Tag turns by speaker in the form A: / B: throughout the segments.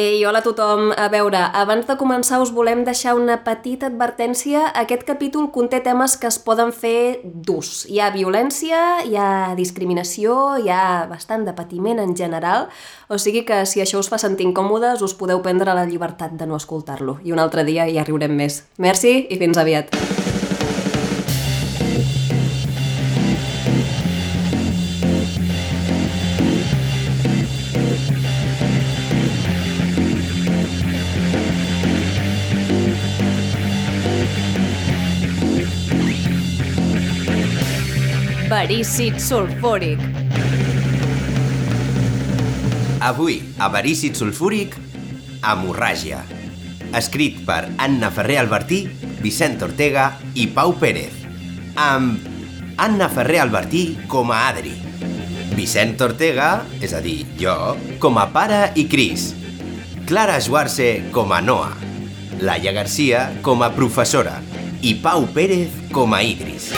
A: Ei, hola a tothom. A veure, abans de començar us volem deixar una petita advertència. Aquest capítol conté temes que es poden fer durs. Hi ha violència, hi ha discriminació, hi ha bastant de patiment en general, o sigui que si això us fa sentir incòmodes us podeu prendre la llibertat de no escoltar-lo. I un altre dia ja riurem més. Merci i fins aviat. Verícid sulfúric.
B: Avui, avarícid sulfúric, hemorràgia. Escrit per Anna Ferrer Albertí, Vicent Ortega i Pau Pérez. Amb Anna Ferrer Albertí com a Adri. Vicent Ortega, és a dir, jo, com a pare i Cris. Clara Schwarze com a Noa. Laia Garcia com a professora. I Pau Pérez com a Idris.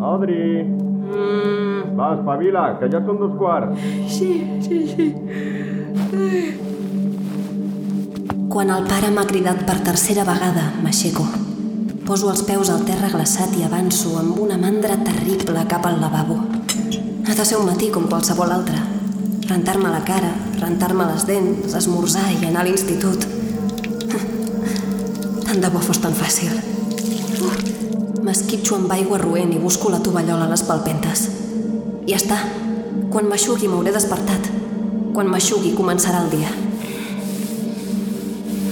C: Adri,
A: Mm,
C: va, espavila, que ja són dos quarts.
A: Quan el pare m'ha cridat per tercera vegada, m'aixeco. Poso els peus al terra glaçat i avanço amb una mandra terrible cap al lavabo. Ha de ser un matí com qualsevol altre. Rentar-me la cara, rentar-me les dents, esmorzar i anar a l'institut. Tant de bo fos tan fàcil. Uh, M'esquitxo amb aigua roent i busco la tovallola a les palpentes. Ja està. Quan m'aixugui m'hauré despertat. Quan m'aixugui començarà el dia.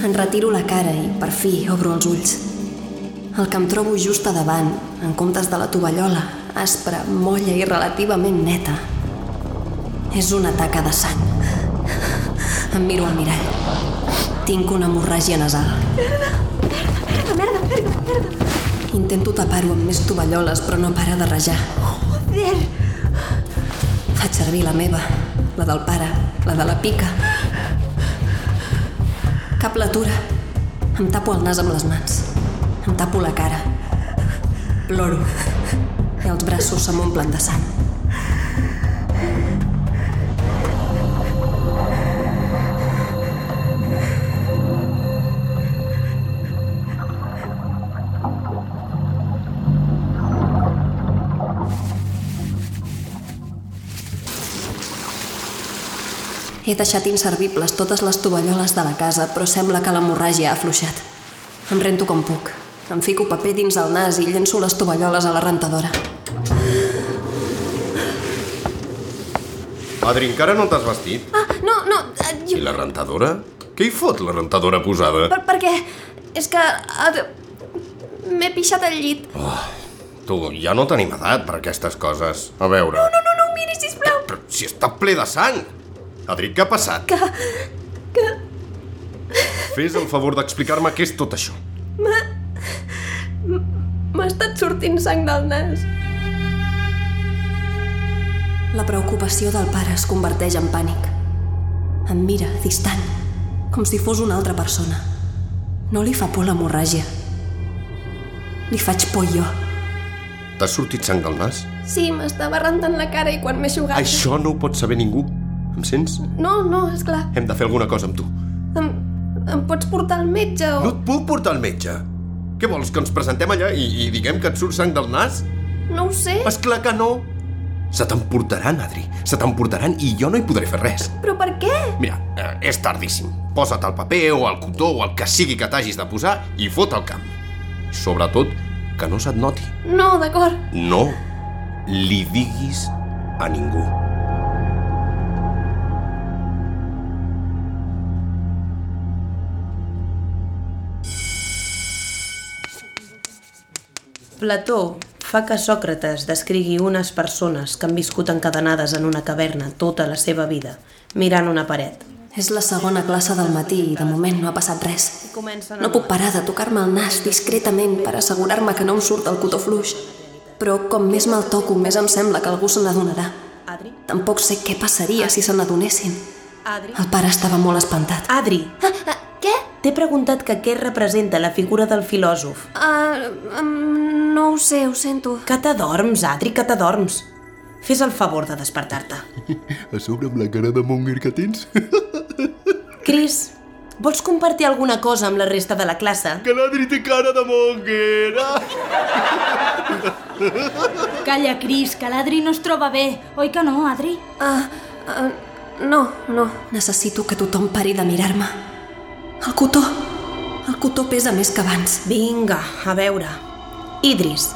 A: En retiro la cara i, per fi, obro els ulls. El que em trobo just a davant, en comptes de la tovallola, aspra, molla i relativament neta, és una taca de sang. Em miro al mirall. Tinc una hemorràgia nasal. Merda, merda, merda, merda. Intento tapar-ho amb més tovalloles, però no para de rajar. Joder! Faig servir la meva, la del pare, la de la pica, cap l'atura. Em tapo el nas amb les mans. Em tapo la cara. Ploro. I els braços se m'omplen de sang. He deixat inservibles totes les tovalloles de la casa, però sembla que l'hemorràgia ha afluixat. Em rento com puc. Em fico paper dins el nas i llenço les tovalloles a la rentadora.
C: Adri, encara no t'has vestit?
A: Ah, no, no, eh,
C: I la rentadora? Què hi fot, la rentadora posada?
A: Per, per què? És que... eh, M'he pixat al llit.
C: Tu, ja no tenim edat per aquestes coses. A veure... No, no,
A: No, no, miri, sisplau.
C: Però si està ple de sang! Adri, què ha passat?
A: Que... que...
C: Fes el favor d'explicar-me què és tot això.
A: M'ha... M'ha estat sortint sang del nas. La preocupació del pare es converteix en pànic. Em mira, distant, com si fos una altra persona. No li fa por l'hemorràgia. Li faig por jo.
C: T'ha sortit sang del nas?
A: Sí, m'estava rentant la cara i quan m'he xugat...
C: Això no ho pot saber ningú. Em sents?
A: No, no, és clar.
C: Hem de fer alguna cosa amb tu.
A: Em, em pots portar al metge o...
C: No et puc portar al metge. Què vols, que ens presentem allà i, i diguem que et surt sang del nas?
A: no ho sé,
C: És clar que no. Se t'emportaran, Adri. Se t'emportaran i jo no hi podré fer res.
A: però per què?
C: Mira, eh, és tardíssim. Posa't el paper o el cotó o el que sigui que t'hagis de posar i fot al camp. Sobretot, que no se't noti.
A: No, d'acord.
C: No li diguis a ningú.
D: Plató fa que Sòcrates descrigui unes persones que han viscut encadenades en una caverna tota la seva vida, mirant una paret.
A: És la segona classe del matí i de moment no ha passat res.
D: Comencen
A: No puc parar de tocar-me el nas discretament per assegurar-me que no em surt el cotó fluix. Però com més me'l toco, més em sembla que algú se n'adonarà.
D: Adri?
A: Tampoc sé què passaria si se n'adonessin.
D: Adri...
A: El pare estava molt espantat.
D: Adri,
E: Ah, ah, què?
D: t'he preguntat que què representa la figura del filòsof.
E: Ah, mm, no ho sé, ho sento.
D: Que t'adorms, Adri, que t'adorms. Fes el favor de despertar-te.
F: A sobre amb la cara de monger que tens.
D: Cris, vols compartir alguna cosa amb la resta de la classe?
F: Que l'Adri té cara de monger! Ah!
G: Calla, Cris, que l'Adri no es troba bé. Oi que no, Adri?
E: Ah, ah, no, no.
A: Necessito que tothom pari de mirar-me. El cotó. El cotó pesa més que abans.
D: Vinga, a veure. Idris,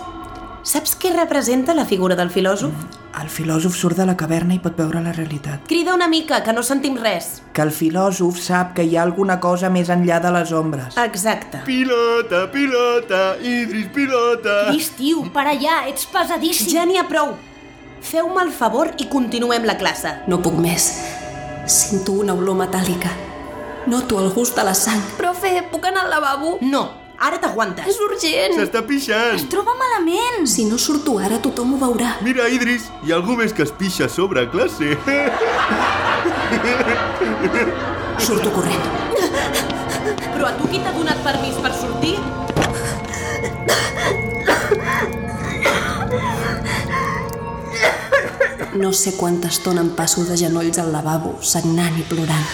D: saps què representa la figura del filòsof?
H: El filòsof surt de la caverna i pot veure la realitat.
D: Crida una mica, que no sentim res.
H: Que el filòsof sap que hi ha alguna cosa més enllà de les ombres.
D: Exacte.
F: Pilota, pilota, Idris, pilota!
G: Cris, tio, para allà, ets pesadíssim.
D: Ja n'hi ha prou. Feu-me el favor i continuem la classe.
A: No puc més. Sento una olor metàl·lica. Noto el gust de la sang.
E: Profe, puc anar al lavabo?
D: No, ara t'aguantes.
E: És urgent.
F: S'està pixant!
G: Es troba malament.
A: Si no surto ara, tothom ho veurà.
F: Mira, Idris, hi ha algú més que es pixa a sobre a classe.
A: Surto corrent.
D: Però a tu qui t'ha donat permís per sortir?
A: No sé quanta estona em passo de genolls al lavabo, sagnant i plorant.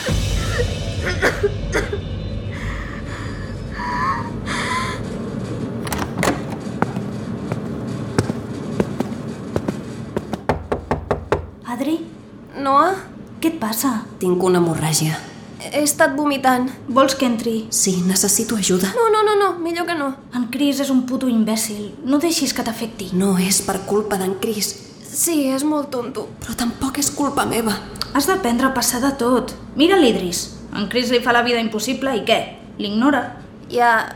G: Adri,
E: Noa,
G: què et passa?
A: Tinc una hemorràgia.
E: he estat vomitant.
G: Vols que entri?
A: Sí, necessito ajuda.
E: No, no, no, no, millor que no.
G: En Cris és un puto imbècil. No deixis que t'afecti.
A: No és per culpa d'en Cris,
E: Sí, és molt tonto.
A: però tampoc és culpa meva.
G: Has d'aprendre a passar de tot. Mira l'Idris. En Chris li fa la vida impossible i què? L'ignora.
E: Ja...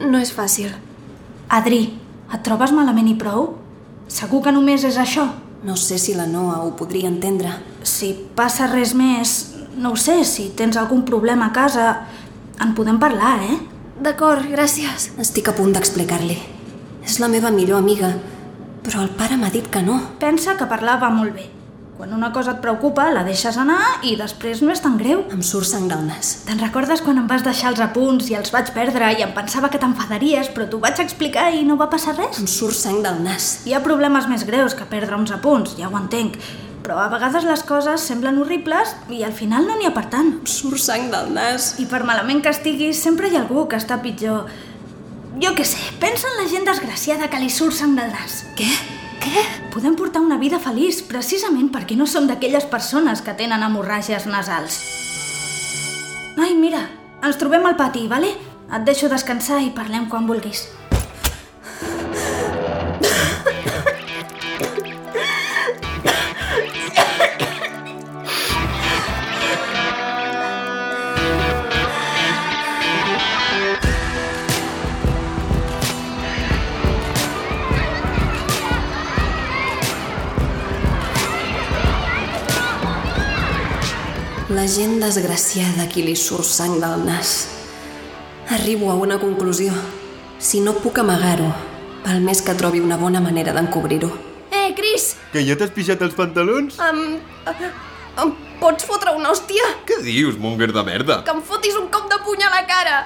E: no és fàcil.
G: Adri, et trobes malament i prou? Segur que només és això.
A: No sé si la Noa ho podria entendre.
G: Si passa res més, no ho sé, si tens algun problema a casa, en podem parlar, eh?
E: D'acord, gràcies.
A: Estic a punt d'explicar-li. És la meva millor amiga, però el pare m'ha dit que no.
G: Pensa que parlar va molt bé. Quan una cosa et preocupa, la deixes anar i després no és tan greu.
A: Em surt sang del nas.
G: Te'n recordes quan em vas deixar els apunts i els vaig perdre i em pensava que t'enfadaries, però t'ho vaig explicar i no va passar res?
A: Em surt sang del nas.
G: Hi ha problemes més greus que perdre uns apunts, ja ho entenc, però a vegades les coses semblen horribles i al final no n'hi ha per tant.
A: Em surt sang del nas.
G: I per malament que estiguis, sempre hi ha algú que està pitjor. Jo què sé, pensa en la gent desgraciada que li surt sang del nas.
A: Què?
G: Podem portar una vida feliç precisament perquè no som d'aquelles persones que tenen hemorràgies nasals. Ai, mira, ens trobem al pati, vale? Et deixo descansar i parlem quan vulguis.
A: La gent desgraciada a qui li surt sang del nas. Arribo a una conclusió. Si no puc amagar-ho, val més que trobi una bona manera d'encobrir-ho.
E: Eh, Cris,
F: Que ja t'has pixat els pantalons?
E: em... em pots fotre una hòstia?
C: Què dius, monger de merda?
E: Que em fotis un cop de puny a la cara!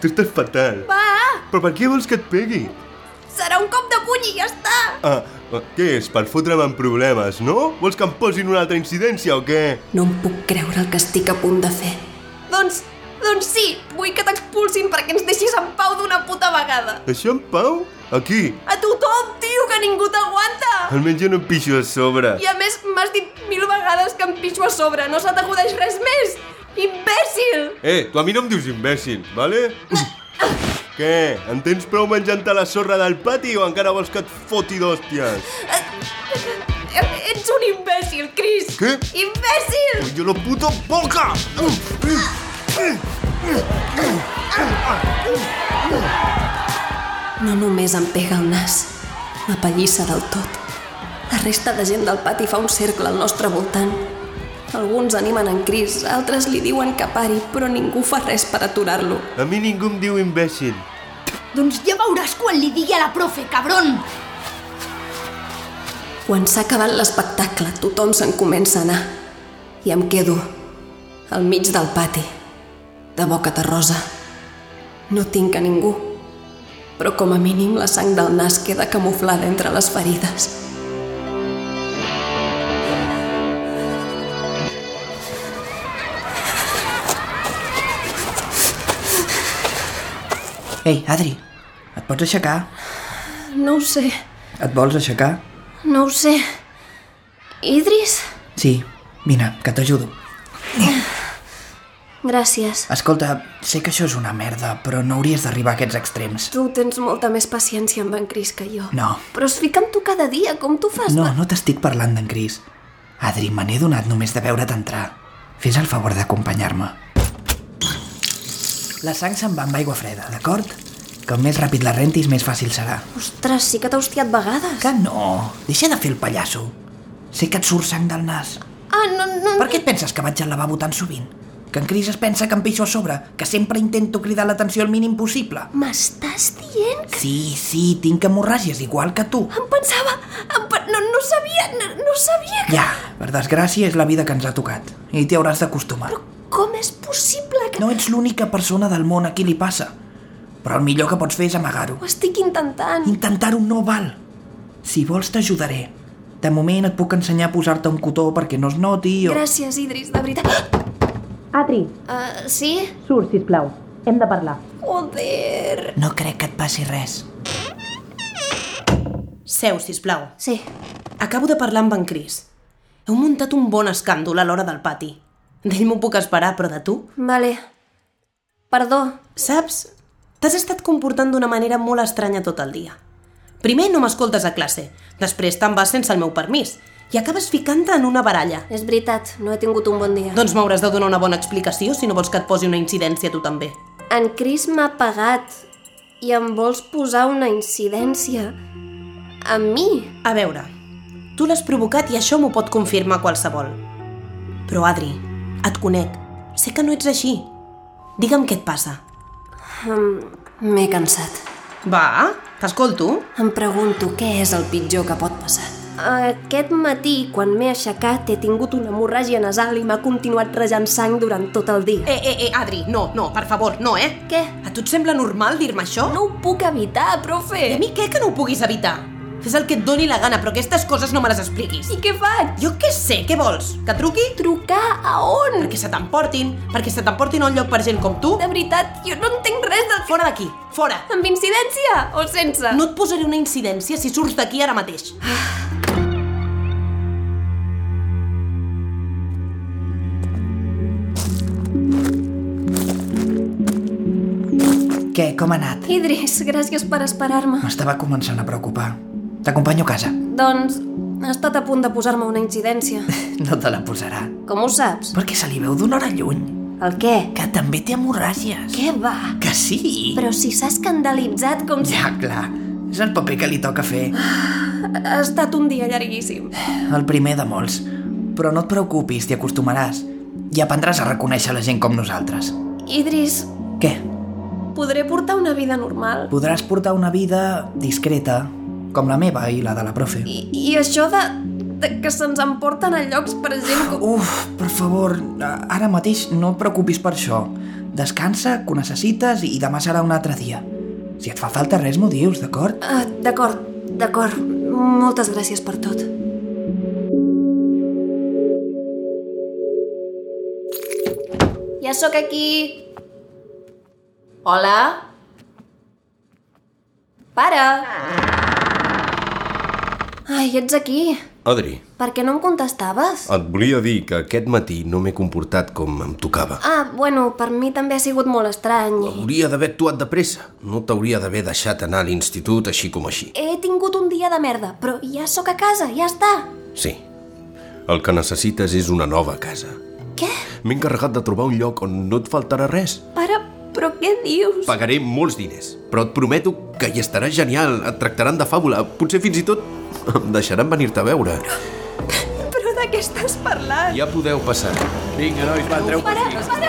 F: Tu estàs fatal.
E: Va,
F: Però per què vols que et pegui?
E: serà un cop de puny i ja està!
F: Ah, ah, què és? Per fotre'm en problemes, no? Vols que em posin una altra incidència o què?
A: No em puc creure el que estic a punt de fer.
E: Doncs, doncs sí, vull que t'expulsin perquè ens deixis en pau d'una puta vegada.
F: Això en Pau? Aquí.
E: A tothom, tio, que ningú t'aguanta!
F: Almenys jo no em pixo a sobre.
E: I a més, m'has dit mil vegades que em pixo a sobre, no se t'acudeix res més! Imbècil!
F: Eh, tu a mi no em dius imbècil, vale? Què? En tens prou menjant-te la sorra del pati o encara vols que et foti d'hòsties?
E: Ets un imbècil, Cris!
F: Eh? Què?
E: Imbècil!
F: ¡Yo lo puto boca!
A: No només em pega el nas, la pallissa del tot. La resta de gent del pati fa un cercle al nostre voltant. Alguns animen en Cris, altres li diuen que pari, però ningú fa res per aturar-lo.
F: A mi ningú em diu imbècil.
G: Doncs ja veuràs quan li digui a la profe, cabron!
A: Quan s'ha acabat l'espectacle, tothom se'n comença a anar. i em quedo al mig del pati, de boca terrosa. No tinc a ningú, però com a mínim la sang del nas queda camuflada entre les ferides.
H: Ei, Adri, et pots aixecar?
E: No ho sé,
H: Et vols aixecar?
E: no ho sé. Idris?
H: Sí, vine, que t'ajudo.
E: Gràcies.
H: Escolta, sé que això és una merda, però no hauries d'arribar a aquests extrems.
E: Tu tens molta més paciència amb en Cris que jo.
H: No.
E: Però es fica amb tu cada dia, com tu fas?
H: No, no t'estic parlant d'en Cris. Adri, me n'he donat només de veure't entrar. Fes el favor d'acompanyar-me. La sang se'n va amb aigua freda, d'acord? Com més ràpid la rentis, més fàcil serà.
E: Ostres, sí que t'ha hostiat vegades.
H: Que no! Deixa de fer el pallasso. Sé que et surt sang del nas.
E: Ah, no, no,
H: Per què et penses que vaig al lavabo tan sovint? Que en Cris es pensa que em pixo a sobre, que sempre intento cridar l'atenció el mínim possible.
E: M'estàs dient?
H: Sí, sí, tinc hemorràgies igual que tu.
E: Em pensava... Em pe... no, no sabia... No, no sabia...
H: Ja, per desgràcia és la vida que ens ha tocat. I t'hi hauràs d'acostumar.
E: Com és possible que...
H: No ets l'única persona del món a qui li passa. Però el millor que pots fer és amagar-ho.
E: Ho estic intentant.
H: Intentar-ho no val. Si vols t'ajudaré. De moment et puc ensenyar a posar-te un cotó perquè no es noti o...
E: Gràcies, Idris, de veritat.
D: Adri,
E: Uh, sí?
D: surt, sisplau. Hem de parlar.
E: Joder...
H: No crec que et passi res.
D: Seu, sisplau.
E: Sí.
D: Acabo de parlar amb en Cris. Heu muntat un bon escàndol a l'hora del pati. D'ell m'ho puc esperar, però de tu?
E: Vale. Perdó.
D: Saps? T'has estat comportant d'una manera molt estranya tot el dia. Primer no m'escoltes a classe, després te'n vas sense el meu permís i acabes ficant-te en una baralla.
E: És veritat, no he tingut un bon dia.
D: Doncs m'hauràs de donar una bona explicació si no vols que et posi una incidència tu també.
E: En Cris m'ha pagat i em vols posar una incidència. A mi?
D: A veure, tu l'has provocat i això m'ho pot confirmar qualsevol. Però Adri, et conec. Sé que no ets així. Digue'm què et passa.
A: M'he cansat.
D: Va, t'escolto.
A: Em pregunto què és el pitjor que pot passar.
E: Aquest matí, quan m'he aixecat, he tingut una hemorràgia nasal i m'ha continuat rejant sang durant tot el dia.
D: Eh, eh, eh, Adri, no, no, per favor, no, eh?
E: Què?
D: A tu et sembla normal dir-me això?
E: No ho puc evitar, profe!
D: I a mi què que no ho puguis evitar? Fes el que et doni la gana, però aquestes coses no me les expliquis.
E: I què faig?
D: Jo què sé, què vols? Que truqui?
E: Trucar a on?
D: Perquè se t'emportin, perquè se t'emportin a un lloc per gent com tu.
E: De veritat, jo no entenc res de...
D: Fora d'aquí, fora.
E: Amb incidència o sense?
D: No et posaré una incidència si surts d'aquí ara mateix.
H: Què, com ha anat?
E: Idris, gràcies per esperar-me.
H: M'estava començant a preocupar. T'acompanyo a casa.
E: Doncs ha estat a punt de posar-me una incidència.
H: No te la posarà.
E: Com ho saps?
H: Perquè se li veu d'una hora lluny.
E: El què?
H: Que també té hemorràgies.
E: Què va?
H: Que sí!
E: Però si s'ha escandalitzat com si...
H: Ja, clar. És el paper que li toca fer.
E: Ha estat un dia llarguíssim.
H: El primer de molts. Però no et preocupis, t'hi acostumaràs. I aprendràs a reconèixer la gent com nosaltres.
E: Idris,
H: Què?
E: podré portar una vida normal.
H: Podràs portar una vida discreta, com la meva i la de la profe.
E: I, i això de, de que se'ns emporten a llocs, per exemple... Com...
H: Uf, per favor, a- ara mateix no et preocupis per això. Descansa, que ho necessites i demà serà un altre dia. Si et fa falta res m'ho dius, d'acord?
E: Ah, d'acord, d'acord. Moltes gràcies per tot. Ja sóc aquí. Hola? Pare! Ai, ets aquí.
C: Adri,
E: Per què no em contestaves?
C: et volia dir que aquest matí no m'he comportat com em tocava.
E: Ah, bueno, per mi també ha sigut molt estrany.
C: Hauria d'haver actuat de pressa. No t'hauria d'haver deixat anar a l'institut així com així.
E: He tingut un dia de merda, però ja sóc a casa, ja està.
C: Sí. El que necessites és una nova casa.
E: Què?
C: M'he encarregat de trobar un lloc on no et faltarà res.
E: Pare, però què dius?
C: Pagaré molts diners, però et prometo que hi estarà genial, et tractaran de fàbula, potser fins i tot em deixaran venir-te a veure.
E: Però de què estàs parlant?
C: Ja podeu passar. Vinga, nois, va, treu
E: Para, para, para, què passa? Són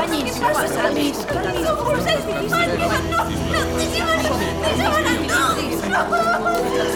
E: forçats, Marc, que no, no, deixa'm anar, deixa'm anar, no, no!